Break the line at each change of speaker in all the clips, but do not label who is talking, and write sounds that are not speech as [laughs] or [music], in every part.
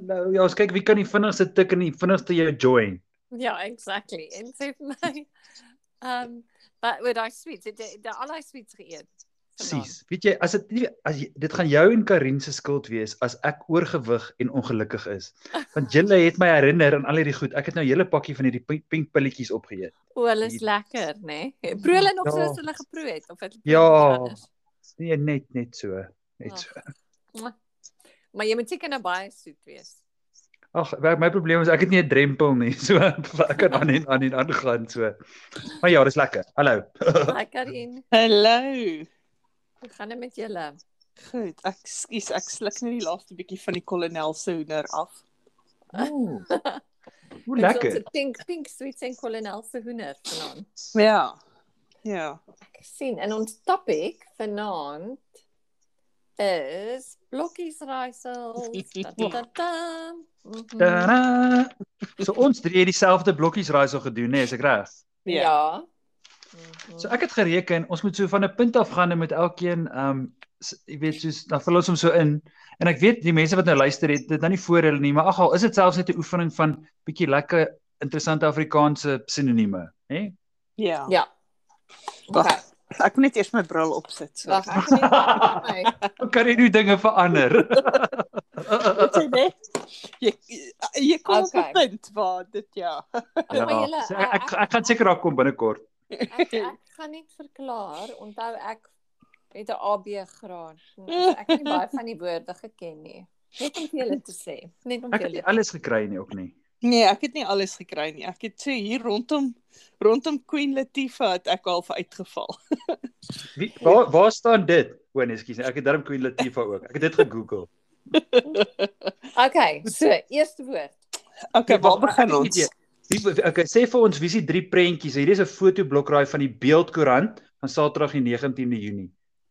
Nou ja, ons kyk wie kan die vinnigste tik en die vinnigste jou join.
Ja, exactly. En sê vir my ehm um, wat word daai sweets? Het jy daai al daai sweets geëet? vandaan?
Presies. Weet jy, as dit nie- as jy, dit gaan jou en Karin se skuld wees as ek oorgewig en ongelukkig is. Want julle het my herinner aan al hierdie goed. Ek het nou 'n hele pakkie van hierdie pink, pink pilletjies opgeëet.
O, hulle is
Hier.
lekker, nê? Nee? Proe hulle nog
Ja.
ja. soos hulle geproe het of het hulle
Ja.
proe iets anders?
Nee, net net so, net
Ag.
so.
Maar jy moet seker nou baie soet
[laughs]
wees.
Ag, my- my probleem is ek het nie 'n drempel nie. [laughs] So ek kan aan en aan en aangaan so. Maar ja, dis lekker. Hallo.
Hi Karin,
Hallo.
hoe gaan dit met julle?
Goed, ek skus, ek sluk net die laaste bietjie van die kolonel se hoender af.
Ooh. Hoe
Met
lekker.
Ons pink pink sweets en kolonel se hoender vanaand.
Ja. Ja.
Ek sien en ons topic vanaand is blokkies
[laughs]
raaisels. Da da da. da. Mhm.
Tada! So ons drie het dieselfde blokkies raaisel gedoen, nê, nee, is ek reg?
Ja.
Ja. Mhm.
So ek het gereken ons moet so van 'n punt af gaan en met elkeen ehm um, jy weet soos dan vul ons hom so in. En ek weet die mense wat nou luister het dit nou nie voor hulle nie, maar ag al is dit selfs net 'n oefening van bietjie lekker interessante Afrikaanse sinonieme, hè? [laughs]
Ja.
Ja.
Wag,
Okay.
Ek moet net eers my bril opsit. So.
Wag, ek het my. [laughs]
Hoe kan jy nou dinge verander? [laughs]
Weet jy net? Jy jy kom okay.
Okay.
op 'n punt waar dit ja.
Maar julle,
ja, so ek, ek
ek-
ek gaan seker daar kom binnekort.
Ek ek gaan net verklaar, onthou ek het 'n AB graad. So ek het nie baie van die woorde geken nie. Net om vir julle te sê, net om
Ek
vir
het nie
julle.
alles gekry nie ook nie.
Nee, ek het nie alles gekry nie. Ek het so hier rondom rondom Queen Latifah het ek al uitgeval. [laughs]
Wie waar waar staan dit? O nee, ekskuus, ek het darm Queen Latifah ook. Ek het dit gegoogel.
Okay, so eerste woord.
Okay, waar begin
Ek het
ons?
nie idee. Wie okay, sê vir ons wie is die drie prentjies? Hierdie is 'n fotoblokraai van die Beeldkoerant van Saterdag die 19de Junie.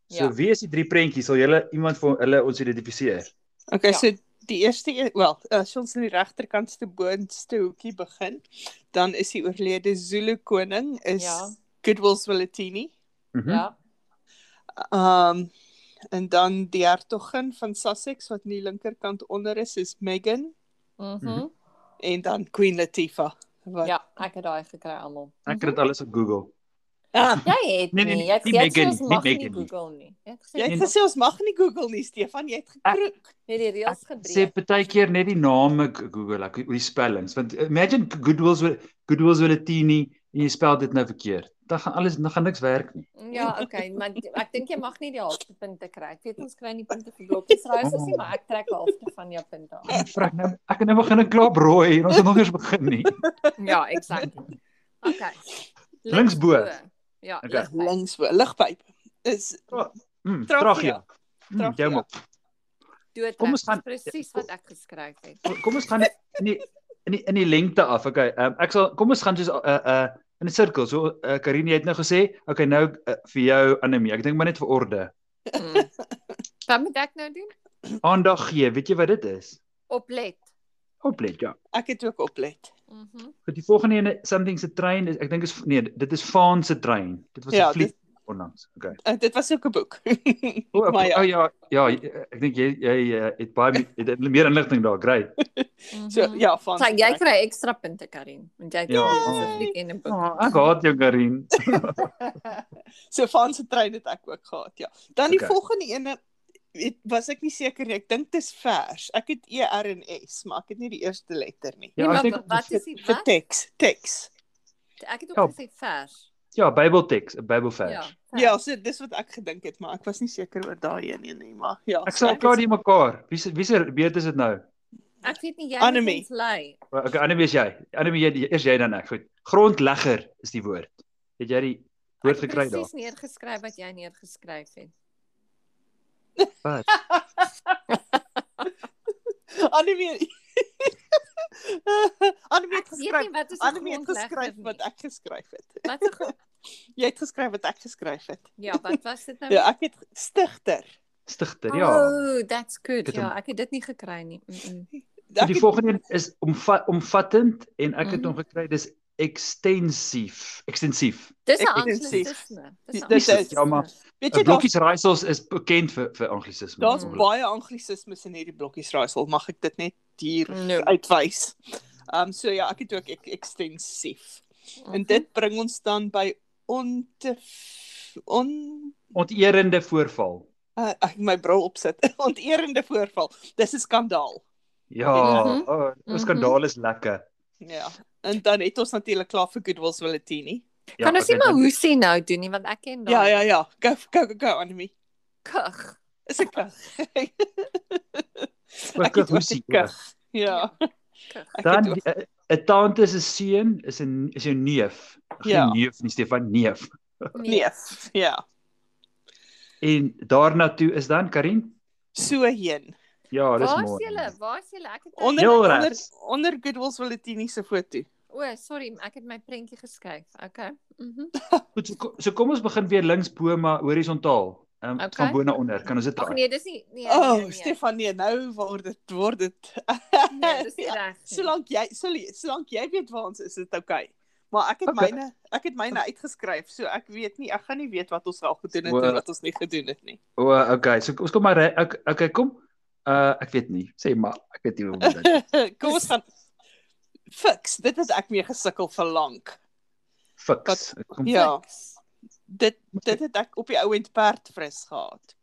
So
Ja.
ja. wie is die drie prentjies? Sal julle iemand vir hulle ons identifiseer?
Okay,
Ja.
ja. so die eerste een- wel, as ons aan die regterkantste boonste hoekie begin, dan is die oorlede Zulu koning is
Ja.
ja. Goodwill Zwelithini.
Mhm.
Ja.
Um en dan die hertogin van Sussex wat aan die linkerkant onder is is Meghan
Mhm.
en dan Queen Latifah. Wat?
Ja, ek het daai gekry almal.
Ek het dit alles op Google.
Ah,
Jy het
Ah.
nie,
Nee, nee, nee,
jy het
nie
jy het
Megan
soos
nie,
mag
nie
nie
Megan nie.
Google nie. Jy het
jy
gesê
het gesê ons mag nie Google nie, Stefan, jy het gekroek.
net die reëls
Sê
gedreef.
baie keer net die name k- Google, ek hoe die spellings, want imagine Goodwills Goodwills Willetini en jy spel dit nou verkeerd. Dan gaan alles dan gaan niks werk
[laughs]
nie.
Ja, okay, maar die- ek dink jy mag nie die halfte punte kry. Ek weet ons kry nie punte vir blokkies raaisels nie, maar ek trek halfte van jou punte af.
Ek vra ek nou, ek het nou begin en klaar brooi en ons het nog eers begin nie.
[laughs] Ja, exactly. Okay.
Linksbo.
Ja,
Okay.
okay. links.
Links bo, ligpyp. Is
Mm,
Trachea.
Tragia. Mm,
Trachea.
jou mop.
Dood.
Kom ons gaan-
presies wat ek geskryf het.
Kom- Kom ons gaan in die in die in die lengte af. Okay. Um, ek sal kom ons gaan soos 'n uh, 'n uh, in 'n sirkel. So uh, Karine, jy het nou gesê, okay, nou uh, vir jou Anemie. Ek dink maar net vir orde.
Mm. [laughs] Wat moet ek nou doen?
Aandag gee. Weet jy wat dit is?
Oplet.
Oplet, ja.
ek het ook oplet.
Mhm.
Goed, die volgende een something se trein is ek dink is nee, dit is Vaan se trein. Dit was 'n
Ja,
ja,
dit-
fliek onlangs. Okay.
Uh, dit was ook 'n boek. [laughs]
O oh,
Maar
okay.
ja.
ja. Oh, ja, ja, jy- ek dink jy jy uh, het baie het, het meer inligting daar. Great.
[laughs]
Mm
so ja, van.
Sien, jy kry ekstra punte Karin, want jy het
Ja.
spesifiek in 'n boek.
Oh, ek haat jou Karine.
Ja,
So van se trein het ek ook gehad, ja. Dan die
Okay.
okay. volgende een weet was ek nie seker nie. Ek dink dis vers. Ek het E R en S, maar ek het nie die eerste letter nie.
Ja,
Ja,
nee,
ek
maar
dink
wa- wat is die
vir
wat?
teks, teks.
Ek het
Ja.
ook gesê vers.
Ja, Bybelteks, 'n Bybelvers.
Ja. vers.
Ja, so dis wat ek gedink het, maar ek was nie seker oor daai een nie, nie, maar ja.
Ek
so
sal klaar die mekaar. Wie se wie se beurt is dit nou?
Ek weet nie jy
Anemie.
moet ons lei.
Okay, Annelie is jy. Annelie jy eers jy dan ek. Goed. Grondlegger is die woord. Het jy die woord gekry daar?
Presies neergeskryf wat jy neergeskryf het.
Wat?
[laughs] Annemie. Annemie
Ek
het
weet nie
geskryf.
wat is
Annemie het
grondlegger
geskryf wat
nie.
ek geskryf het.
Wat 'n
[laughs]
grond-
Jy het geskryf wat ek geskryf het.
Ja, wat was dit nou?
Ja, ek het stigter.
Stigter, ja.
Oh, that's good.
Ek het
Ja,
hom-
ek het dit nie gekry nie. Mm -mm.
So
Ek
die
het-
volgende een is omvat omvattend en ek het
Mhm.
hom gekry dis ekstensief. Ekstensief.
Dis 'n
Ek-
anglisisme. Dis 'n
Dis-
anglisisme.
ja, maar-
weet jy daar's
Blokkies raaisels is bekend vir vir anglisisme.
Daar's Hmm.
ongelukkig.
baie anglisismes in hierdie blokkies raaisel, mag ek dit net hier
No.
uitwys. Um so ja, ek het ook ek, ekstensief. En dit bring ons dan by onte on
Onterende voorval.
uh, ek moet my bril opsit. [laughs] Onterende voorval. Dis 'n skandaal.
Ja,
Mhm.
mm -hmm. oh,
Mhm.
ons skandaal is lekker.
Ja. En dan het ons natuurlik klaar vir Goodwills Valentini.
Ja,
Kan ons nie
okay,
maar
dan-
hoe sien nou doen nie want ek ken daai
Ja ja ja. Go go go, go Annelie.
kug.
Is [laughs] ek kug?
Ook
[laughs] Ek het
hoe
ook
sien
die
jy?
kug. Ja. Ek
Dan
het ook-
die- 'n 'n tante se seun is 'n is jou neef. Geen
Ja.
neef nie, Stefan, neef.
nee. Ja.
En daarna toe is dan Karin.
So heen.
Ja, dis
Waar's
mooi.
julle? Waar's julle? Ek het
Onder
Heel
onder,
regs.
onder Goodwills Valentini se foto.
O, sorry, ek het my prentjie geskuif. Okay. Mhm.
Goed, so, kom- so kom ons begin weer links bo maar horisontaal. Ehm um, okay.
Okay.
van bo na onder. Kan ons dit
Ag
draai?
nee, dis nie nee.
O,
nee,
oh,
nee.
Stefan, nee, nou word dit word dit.
Nee, dis nie
[laughs] Ja,
reg. nie.
Solank jy sorry, solank jy weet waar ons is, is dit oukei. Okay. Maar ek het
Okay.
okay. myne ek het myne uitgeskryf, so ek weet nie, ek gaan nie weet wat ons al gedoen het
Wel.
en wat ons nie gedoen het nie. [laughs]
O, oh, okay. So ons kom maar re- okay, okay, kom. Uh ek weet nie. Sê maar, ek weet nie hoe om dit.
[laughs] Kom ons gaan fix. Dit het ek mee gesukkel vir lank.
Fiks.
Wat-
Kom, ja,
Ja. Dit dit het ek op die ou end perd fris gehad.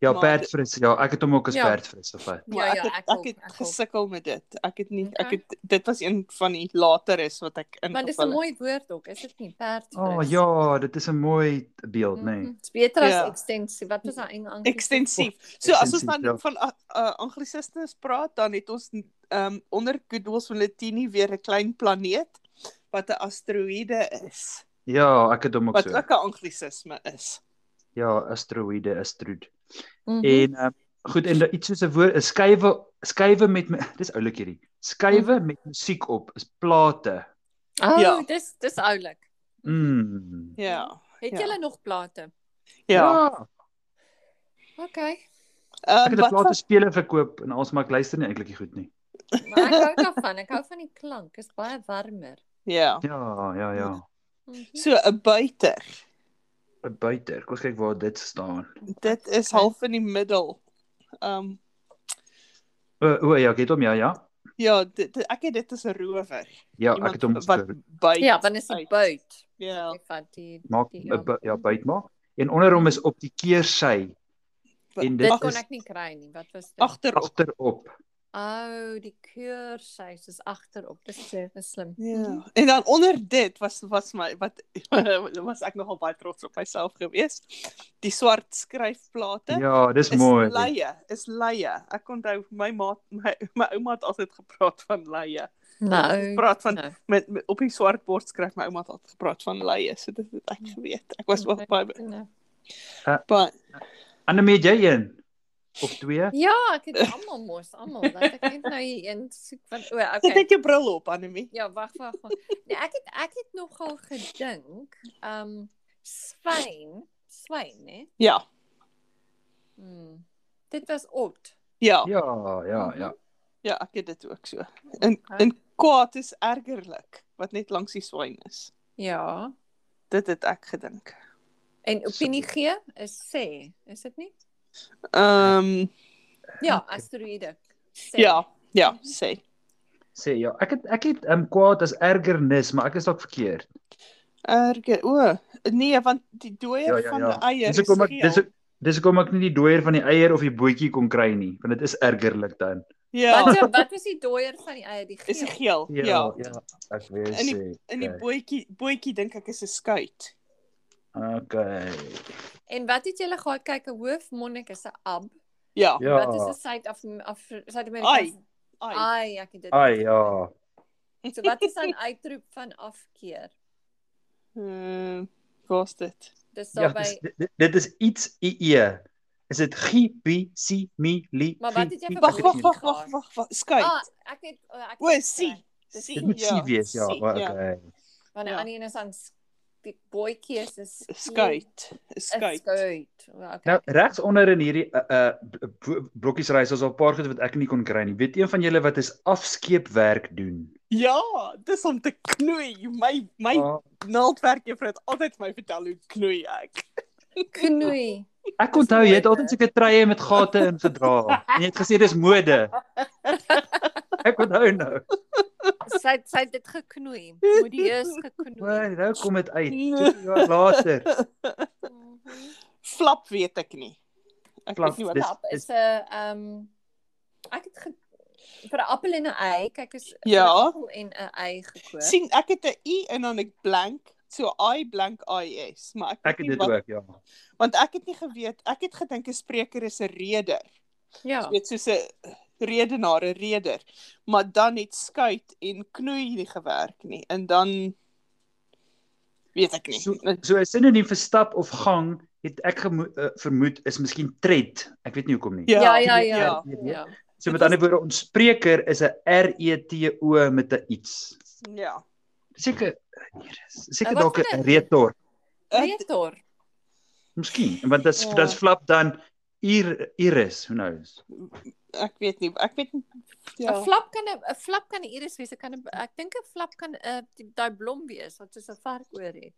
ja
maar-
perdfris. Ja, ek het hom ook as
Ja.
perdfris gevat.
Ja,
Maar
ja,
ek het,
ek
ek
ook,
het
ek ook.
gesukkel met dit. Ek het nie ek
Okay.
het dit was een van die lateres wat ek ingeval
Maar dis 'n mooi woord ook, is dit nie? Perd. Mhm.
O, oh, ja, dit is 'n mooi beeld, nê. Nee.
Dis beter as
Ja.
ekstensie. Wat is daai Engels?
[laughs]
ekstensief. So as ons
Ekstensief,
dan
ja.
van uh, uh, anglisistes praat, dan het ons um onder Goodwills van Latini weer 'n klein planeet wat 'n asteroïde is,
Ja, ek het hom ook
wat
so.
ook 'n anglisisme is.
Ja, asteroïde, asteroid.
Mhm.
En um, goed en da- iets soos 'n woord, 'n skuwe, skuwe met mu- dis oulik hierdie. Skuwe
Mhm.
met musiek op is plate.
Oh,
Ja.
dis dis oulik.
Mm.
Ja.
Het
Ja.
julle nog plate?
Ja.
Okay.
Ek
Ehm
het 'n
wat
plate
was
spele verkoop en alsmaar ek luister nie eintlik nie goed nie.
Maar ek hou daarvan. Ek hou van die klank. Is baie warmer.
Ja.
Ja, ja, ja.
Mhm.
So 'n buiter.
'n Buiter. Kom ons kyk waar dit staan.
Dit is half in die middel. Ehm
O, o ja, ek het hom ja, ja.
ja, dit, dit- ek het dit as 'n rower.
Ja, ek
Iemand
het hom
wat
wat,
buit.
Ja, dan is die
uit.
buit.
Ja.
Ek vat die
maak
die,
'n bu- ja, byt maak. En onder hom is op die keersy En dit
Dit
Ag-
kon
is-
ek nie kry nie. Wat was dit?
agterop.
agterop.
Ou, oh, die keursuis is agterop. Dis se- dis slim.
Ja, en dan onder dit was was my wat [laughs] was ek nogal baie trots op myself gewees. Die swart skryfplate
Ja, dis mooi.
leie, is leie. Ek onthou my ma my, my ouma het altyd gepraat van leie. Ons
Nou.
praat van
nou.
met, met op die swart bord skryf my ouma het altyd gepraat van leie, so dit het
Ja.
ek geweet. Ek was ook baie
nou.
baie
Annelie, het jy een of twee?
Ja, ek het almal mos, almal. Dat ek net nou hier een soek van o,
Sit
okay.
net jou bril op, Anemie.
Ja, wag, wag, wag. Nee, ek het ek het nogal gedink, ehm um, swyn, swyn, né?
Ja,
Hmm. Dit was ot.
ja,
Ja, ja, ja.
ja, ek het dit ook so. En
Okay.
en kwaad is ergerlik wat net langs die swyn is.
Ja.
Dit het ek gedink.
En opinie gee is sê, is dit nie?
Ehm um,
Ja, asteroïde. Sê.
Ja, ja, sê.
Sê ja, ek het ek het um, kwaad as ergernis, maar ek is dalk verkeerd.
Erge. O, nee, want die dooier
Ja, ja,
van
ja.
die eier
Dis hoekom ek
geel.
dis dis hoekom ek nie die dooier van die eier of die bootjie kon kry nie, want dit is ergerlik dan.
ja,
Wat wat was die dooier van die eie die
is die
geel?
geel. Ja. ja.
ja ek weet
In die-
sê.
In die bootjie bootjie dink ek is 'n skuit.
Okay.
En wat het julle gehad kyk 'n hoofmonnik is 'n ab.
Ja.
Ja.
Wat is 'n suid af af
Ai.
Suid-Amerika?
Ai.
Ai, ek het dit.
Ai ja.
So wat is 'n uitroep van afkeer?
Ehm waar's dit?
Dis
Ja, dis,
daarby
dit, dit is iets ee. Is dit G B C M L?
Maar wat het jy vir
Wag, wag,
bootjie?
wag, wag, wag, wag. Skuit.
Ah, ek het o, ek
O, sien.
Dis
Dit
die-
moet C wees, ja.
sien,
Okay.
Want 'n
Ja.
ander een is aan s- die bootjie is 'n
Skuit. 'n Skuit.
Skuit. Okay.
Nou regs onder in hierdie uh uh bl- blokkies reis ons al 'n paar goed wat ek nie kon kry nie. Weet een van julle wat is afskeepwerk doen?
Ja, dis om te knoei. My my
Ah,
naaldwerk juffrou het altyd vir my vertel hoe knoei ek.
knoei.
ek onthou jy het altyd
mode.
seker treie met gate in gedra en jy het gesê dis mode. Ek onthou nou.
Sy sy het dit geknoei. Modieus geknoei.
Maar nou kom dit uit. 2 jaar later.
Mhm.
Flap weet ek nie. Ek
Flap,
weet nie wat
dis-
dis...
Tap is 'n ehm ek het ge- vir 'n appel en 'n ei, kyk is vir 'n
Ja.
appel en 'n ei gekoop.
sien ek het 'n i en dan 'n blank, so i blank i s, maar ek,
Ek
weet
het
nie
dit ook, ja.
want ek het nie geweet, ek het gedink 'n spreker is 'n reder.
Ja.
Jy weet soos 'n redenaar, 'n reder, maar dan het skuit en knoei nie gewerk nie en dan weet ek nie.
So so 'n sinoniem vir stap of gang het ek gemo- eh, vermoed is miskien tred. Ek weet nie hoekom nie.
Ja, ja, ja.
Ja.
Ja.
So met ander woorde, ons spreker is 'n R E T O met 'n iets.
Ja.
Seker hier is seker
Wat
dalk
vir
'n
een?
retor.
Ek
Retor.
Miskien, want dit
Ja.
ja. dit flap dan ir iris, nou who knows.
ek weet nie, ek weet nie.
'n
Ja.
Flap kan 'n 'n flap kan 'n iris wees. Ek kan 'n- ek dink 'n flap kan 'n die- daai blom wees wat soos 'n vark oor het.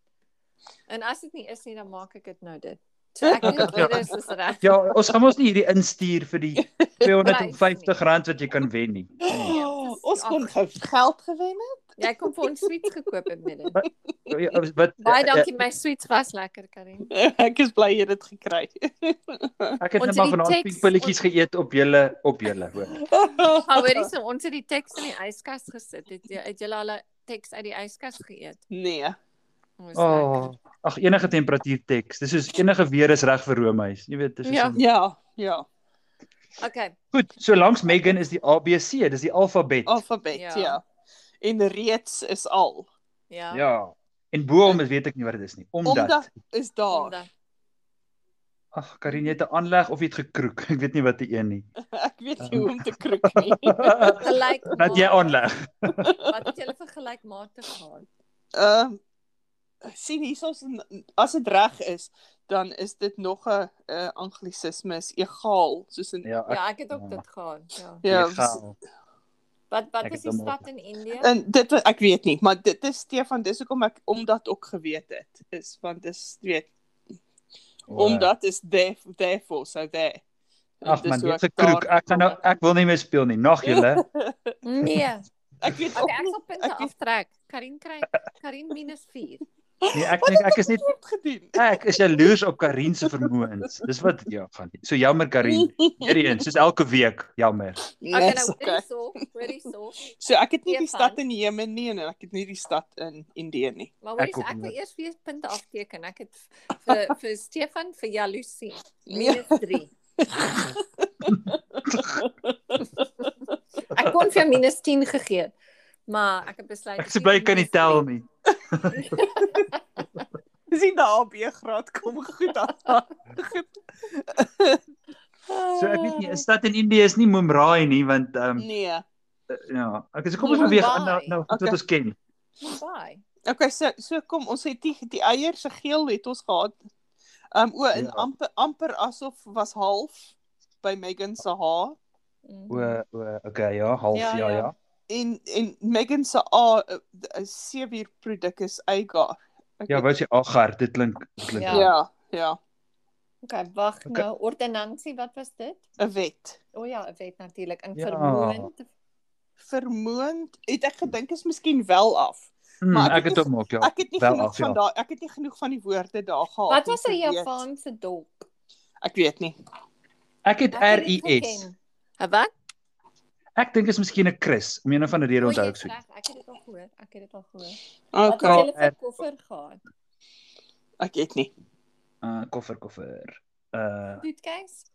En as dit nie is nie, dan maak ek dit nou dit. So ek dink
[laughs] Ja.
iris is reg.
Ja, ons gaan mos nie hierdie instuur vir
[laughs]
die
Prys
R250 wat jy kan wen nie.
Oh,
Ja, dis-
ons
ag.
kon ge- geld gewen het.
Jy kom vir ons sweets gekoop het met dit.
Ja, Wat
[laughs] Baie dankie, my sweets was lekker,
[laughs]
Karin.
Ek is bly jy het [laughs] dit gekry. [laughs]
Ek het
Ons
net maar
het die
vanaand
teks-
pink pilletjies geëet op julle op julle hoor.
Maar hoorie, so ons het die teks in die yskas gesit. Het jy het julle al die teks uit die yskas geëet?
Nee.
Ons
Oh, ag enige temperatuur teks. Dis soos enige weer is reg vir roomys. Jy weet, dis soos
Ja.
om-
Ja, ja.
Okay.
Goed, so langs Megan is die ABC, dis die alfabet.
Alfabet, ja.
Ja.
ja. En reeds is al.
Ja.
Ja. En bo hom is weet ek nie wat dit is nie. Omdat.
Omdat is daar.
Omdat-
Ag, Karin, jy het 'n aanleg of jy het gekroek. [laughs] Ek weet nie wat die
[laughs]
een nie. [laughs]
Ek weet
Ja.
nie hoe om te kruk nie.
Gelyk.
Wat jy aanleg.
Wat het julle vir gelykmatig gehad?
Ehm uh, sien hierso is n- as dit reg is, dan is dit nog 'n uh, anglisisme is egaal, soos in
Ja, ek
Ja, ek het ook dit gehad. Ja.
ja, ja
gaan.
Wat wat
Ek
is
het
die
hom ook. Eh.
stad in Indië?
en dit wa- ek weet nie, maar dit is Stefan, dis hoekom ek omdat ook geweet het is want dis weet omdat is there therefore so there. En
ja. Ag
dis
man,
hoe
jy's
ek
'n kroek.
daar-
Ek gaan nou ek wil nie meer speel nie. Nag julle.
Nee.
ek weet ook
Okay, ek
nie
sal punte
ek weet-
aftrek. Karin kry Karin minus 4.
Nee, ek dink ek is net
wat gedoen.
ek is jaloers op Karin se vermoëns. Dis wat ja, gaan. So jammer Karin. Hierdie een, soos elke week, jammer.
Okay,
Yes,
nou hoor
okay.
hierso, hoor hierso.
So ek het nie die
Stefan.
stad in Jemen nie en ek het nie die stad in Indië nie.
Maar hoor
Ek
hierso,
ook
ek wil
nie.
eers weer punte afteken. Ek het vir vir Stefan vir jaloesie
Nee,
minus 3. [laughs] Ek kon vir jou minus 10 gegee, maar ek het besluit
Ek is bly ek kan nie tel nie.
is nie daar by graad kom goed aan.
Ah,
So ek weet nie, 'n stad in Indië is nie Mumbai nie want ehm um,
[laughs] Nee.
ja, ek is kom ons beweeg aan nou, nou goed
Okay.
wat ons ken.
Bye.
Okay, so so kom ons het die die eiers se geel het ons gehad. Um o, en
Ja.
ja. amper amper asof was half by Megan se haar
Mhm.
O, o, okay, ja, half
Ja,
ja, ja.
ja.
ja.
en en Megan se a uh, is seewier produk is Agar. Ek
Ja,
weet-
wou sê agar, dit klink dit klink.
Ja.
raar.
ja, ja,
Okay, wag
Okay.
nou. Ordonnansie, wat was dit?
'n wet.
O oh ja, 'n wet natuurlik in
Ja.
vermoë. te-
Vermoond, het ek gedink is miskien wel af.
Mm,
maar
ek
ek
het
is-
hom ook ja.
Ek het nie
wel
genoeg
af,
van
ja.
daai ek het nie genoeg van die woorde daar gehad.
Wat
om
was er
te
'n
weet.
Japanse dolk?
Ek weet nie.
Ek het
Ek het
R
dit
I S.
geken. 'n Wat?
Ek dink is miskien 'n Chris, om een of ander rede
O,
onthou
jy
ek
is
so.
reg, Ek het dit al gehoor. Ek het dit al gehoor. Wat het
Okay,
julle vir koffer gehad?
ek het nie.
Uh koffer koffer. Uh
Suitcase?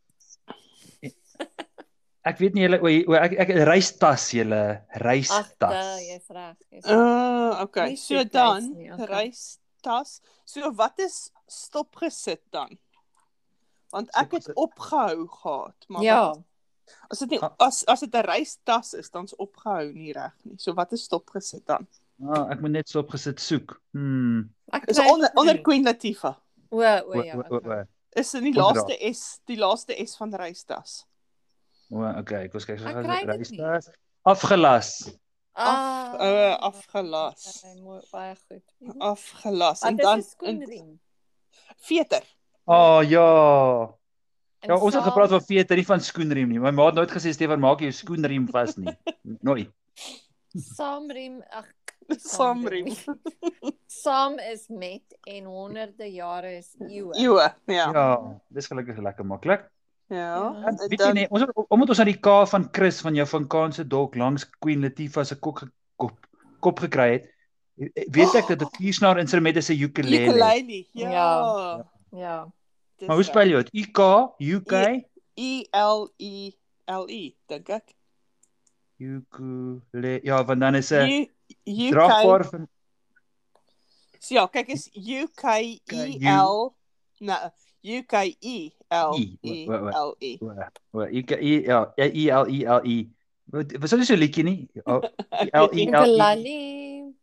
ek weet nie julle o, o ek ek reistas julle,
Ag,
reistas.
jy's reg. Jy's reg.
Uh, okay.
Nie
So
suitcase
dan
nie, okay.
reistas. So wat is stopgesit dan? Want ek het
Stopgesit.
opgehou gehad, maar
Ja,
wat, as dit nie
Ah.
as as dit 'n reistas is, dan's opgehou nie reg nie. So wat is stopgesit dan?
Ah, ek moet net so opgesit soek. Hmm.
ek
Is
kry
onder
dit
onder
nie.
Queen Latifah.
O, o
O,
ja.
o,
okay.
o,
Is in die
Ondra.
laaste S, die laaste S van reistas.
o. O, okay, ek was
Ek
kyk
kry
so
dit nie.
reistas. Afgelas.
Af-
Ah,
o, afgelas.
okay, mooi, Baie goed. Mhm.
Afgelas
Wat is 'n
en dan in [laughs]
skoenriem?
veter.
Ah oh, ja. Ja, ons het gepraat oor veter, nie van skoenriem nie. My ma het nooit gesê Stefan maak jou skoenriem
[laughs]
vas nie. Nooit.
saamriem. Ag,
Saamriem.
Saam is met en honderde jare is eeue.
Ewe, ja.
Ja, dis gelukkig lekker maklik.
Ja.
En
en
Weet jy
dan-
nee, ons het- omdat ons aan die K van Chris van jou van Kaanse Dok langs Queen Latifah se kop kop kop gekry het, eh, weet ek dat 'n viersnaar instrument is 'n ukulele.
Ukulele.
Ja.
Ja.
Ja.
dis
Maar hoe
hy.
spel jy dit? U K U K
E L E L E, dink ek.
ukulele. Ja, want dan is 'n
U U K.
draagbare van
So ja, kyk is U K E L. Nee, U K E L
E,
E
wa- wa- wa-
L E.
o o, U K E L E L E L E. Wat was dit so 'n liedjie nie?
[laughs]
O, L E L E.
Ukulele.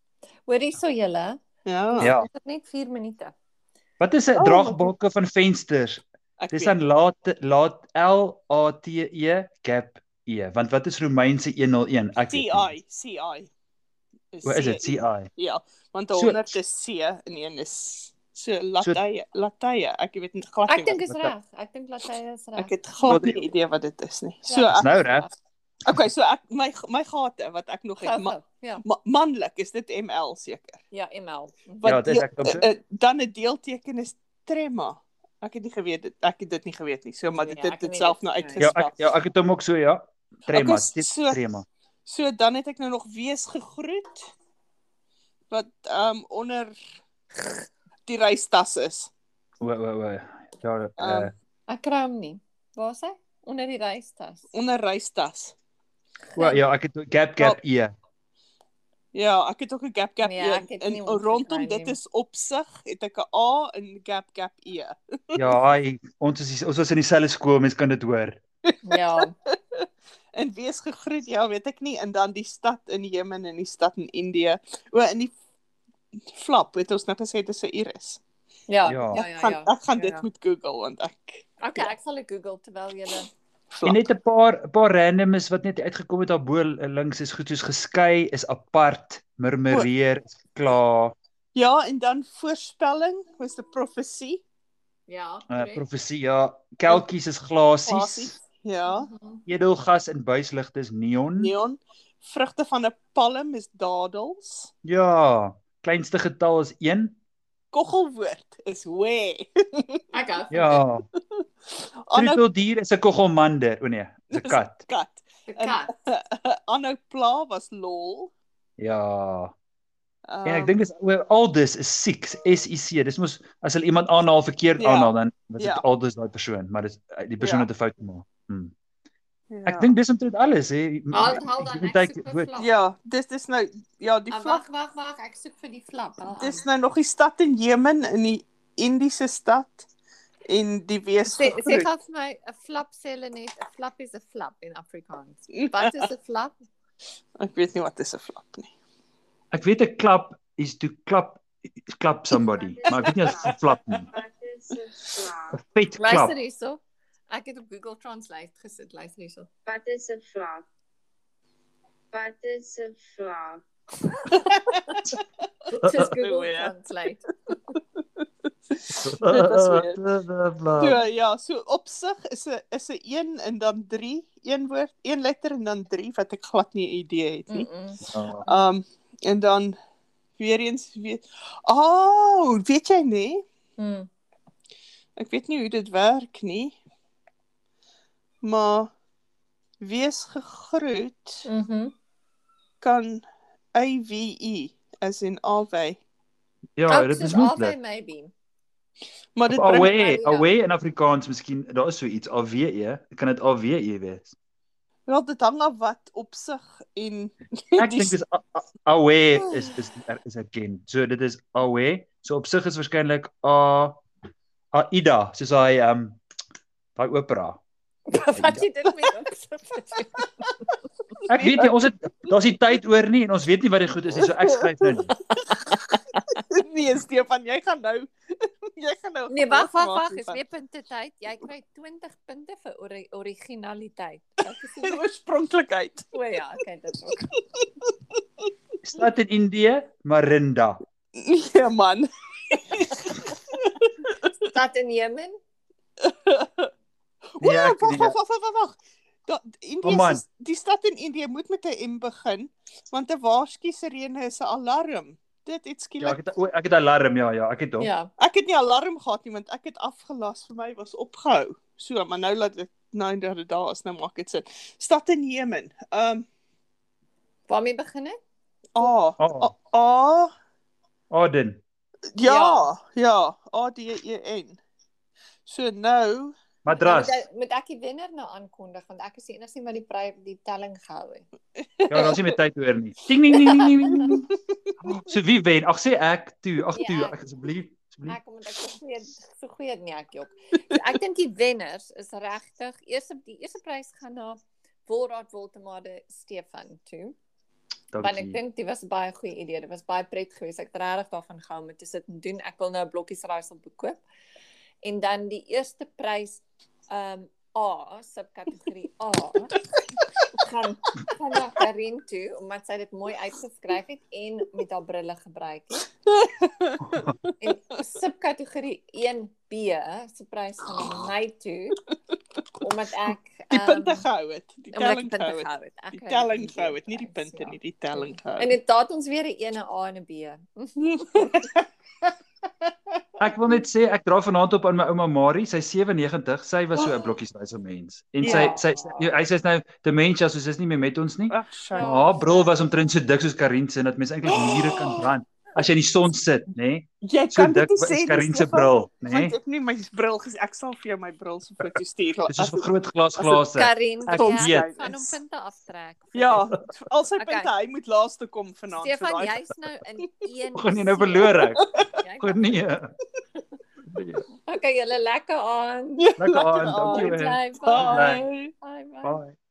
Hoor hierso julle.
Ja.
Ja.
Ons het net 4 minute.
Wat is 'n
Oh,
draagbalke van vensters?
Ek
Dis
weet.
dan laat laat L A T E gap E, want wat is Romeinse 101? Ek weet nie.
CI, CI.
Hoe is dit CI?
Ja, want
So-
100 is C en 1 is so Latye, Latye. Ek weet nie glad nie.
Ek dink
wat-
is reg. Ek dink Latyn is
ek
reg.
het glad
Wat-
nie idee wat dit is nie. So
Ja.
Dis
ek,
nou reg.
okay, so ek my my gate wat ek nog het
Gou,
ma,
gou. Ja,
ma, manlik is dit ML seker.
ja, ML. Mhm.
Ja,
Wat
dis ek
deel-
dink so.
eh, eh, dan 'n deelteken is trema. Ek het nie geweet dit ek het dit nie geweet nie. So maar
Nee,
dit
ek
het
het
dit
nie
self
dit
nou
gekry.
Ja,
uitgespel.
ek ja, ek het hom ook so ja. Trema,
Ek is
dit
so-
trema.
So dan het ek nou nog wees gegroet wat ehm um, onder die reistas is.
O o o. Ja,
Ehm,
eh,
Ek kry hom nie. Waar is hy? Onder die reistas.
onder reistas.
o, ja, ek het gap gap E.
Ja, ek het ook 'n gap gap
Nee,
E.
ek het
en
nie ons gekry
rondom
nie.
dit is opsig het ek 'n A en gap gap E.
Ja, hy, ons is ons was in dieselfde skool, mense kan dit hoor.
Ja,
En wees gegroet, ja, weet ek nie, en dan die stad in Jemen en die stad in Indië. O, in die flap, het ons nou gesê dis 'n uur is.
ja,
Ja.
ja,
Ek
ja.
gaan
ja.
ek gaan
Ja,
dit
ja.
moet Google want ek
Okay, ek sal dit Google terwyl julle
En
flap.
net 'n paar 'n paar randoms wat net uitgekom het daarbo links is goed soos geskei, is apart, murmureer, is klaar,
Ja, en dan voorspelling was 'n profesie.
Ja.
uh,
korrek.
profesie, ja, kelkies is glasies,
Glasies. Ja,
Mhm.
edelgas en buisligte is neon.
neon. Vrugte van 'n palm is dadels.
Ja, kleinste getal is 1.
Koggelwoord is
[laughs]
way.
Ek hou.
Ja,
Aanhou
troeteldier is 'n koggelmander. O nee, is 'n kat.
kat. [laughs]
Die kat.
Aanhou pla was lol.
Ja.
Um,
En ek dink dis oor aldus is siek, S I C. Dis mos as hulle iemand aanhaal verkeerd
Ja.
aanhaal dan was dit
Ja.
aldus daai persoon, maar dis eh, die persoon
Ja.
het 'n fout gemaak. Hmm.
ja.
Ek dink dis omtrent alles hè.
Haal haal dan
Hierdie
ek
tyd
soek vir
woord.
flap.
ja, dis dis nou ja, die
Ah,
vlag.
Wag, wag, wag, ek soek vir die flap. Haal
Dis
aan.
nou nog die stad in Jemen in die Indiese stad en die wees
Sê sê
gegroet.
gou vir my 'n flap sê hulle net 'n flap is 'n flap in Afrikaans. Wat is 'n flap?
Ek weet nie wat is 'n flap nie.
Ek weet 'n klap is to klap klap somebody,
[laughs]
maar ek weet nie as dit 'n flap nie. 'n Vet klap.
Luister hierso. Ek het op Google Translate gesit. Luister hierso.
Wat is 'n vlak? Wat is 'n vlak?
[laughs] Dis
Oh,
Google [laughs]
ja.
Translate.
Dit was weer.
Flap.
So ja, so opsig is 'n is 'n 1 en dan 3, een woord, een letter en dan 3 wat ek glad nie 'n idee het nie.
Mm-mm.
Ja.
Mm.
Um en dan weer eens weet Oh, weet jy nie?
Mm.
Ek weet nie hoe dit werk nie. Maar wees gegroet
Mhm.
kan AVE as in alwy.
[laughs] Ja, dit is moontlik.
Albei
[laughs]
maybe.
Maar dit bring
Away,
my-
away in Afrikaans miskien, daar is so iets AWE, kan dit AWE wees?
wel dit hang af wat opsig en [laughs]
Ek dink dis a- a- away is is is erken. So dit is away. So op sig is waarskynlik a Aida, soos hy ehm um, daai opera.
Wat jy dit met
[laughs]
opsit.
Ek weet nie, ons het daar's nie tyd oor nie en ons weet nie wat die goed is nie, so [laughs] ek skryf nou nie.
nee Stefan, jy gaan nou [laughs] jy gaan nou
Nee, wag, wag,
losmaak
wag, is
hiervan.
weer punte tyd. Jy kry 20 punte vir ori originaliteit. Ek is
En [laughs]
nie-
oorspronklikheid. [laughs]
O ja, okay, dit ook.
Stad in Indië, Marinda.
Nee man.
Stad in Jemen.
O,
Nee,
ja,
ek
wag,
nee,
wag, wag, wag, wag. Da Indië
Oh, man.
is- die stad in Indië moet met 'n M begin want 'n waarsku sirene is 'n alarm. Dit het
Ja,
skielik
ek het o, ek het alarm, ja ja, ek het hom.
Ja.
Ek het nie alarm gehad nie want ek het afgelas vir my was opgehou. So, maar nou laat ek nou dat dit daar is, nou maak dit sin. Stad in Jemen. Ehm
Waarmee begin ek?
A
Oh,
A, A
Aden.
ja, ja, A D E N. So nou,
Madras.
Moet, moet ek die wenner nou aankondig want ek is die enigste een wat die pry die telling gehou het.
Ja, ons het met tyd oor nie. Ding ding ding ding ding, ding. ding. So wie wen? Ag sê ek toe, ag
Nee,
toe,
ek.
Ja. ek asseblief, asseblief.
Ek omdat ek so goeie so goeie nee ek jok. So ek dink die wenners is regtig eers die eerste prys gaan na Wolraad Woltemade Stefan toe. Want ek
Dankie.
dink dit was 'n baie goeie idee. Dit was baie pret geweest. Ek het er regtig daarvan gehou om dit te sit en doen. Ek wil nou 'n blokkie raaisel bekoop. En dan die eerste prys ehm um, A, subkategorie A. [laughs] gaan gaan na Karin toe omdat sy dit mooi uitgeskryf het en met haar brille gebruik het. En subkategorie 1B se prys gaan na my toe omdat ek
die
ehm,
punte gehou het, die
omdat ek
telling
die punte
gehou het.
gehou het. Ek
Die
hou
telling
van
gehou het, nie die
prys,
punte
ja.
nie, die telling gehou.
En dit daat ons weer 'n ene A en 'n B.
Ek wil net sê ek dra vanaand op aan my ouma Marie, sy 97, sy was
Oh.
so 'n blokkieswyse mens. En sy
Ja.
sy sy- hy sê's nou dementia, so sy's nie meer met ons nie.
Ag, sy.
Maar haar bril was omtrent so dik soos Karin se en dat mense eintlik mure kan brand as jy in die son sit, nê? Nee?
Jy
So
Oh. kan dit
dik
nie
was
sê
Karin se bril, nê?
Nee.
Nee?
Want ek nie my bril ges ek sal vir jou my bril se foto stuur.
Dis soos
as-
vir groot glas
as dit
glase.
Karin
Ek
Tom
weet.
gaan hom punte aftrek.
Ja, al sy
Okay.
punte, hy moet laaste kom vanaand. vir
Stefan,
daai-
jy's nou
[laughs]
in 1.
Gaan jy nou verloor ek?
Jy-
Goed
[laughs]
nee.
Okay, julle lekker aan.
Lekker aan, dankie.
Bly
Bye.
bly. Bye.
Bye.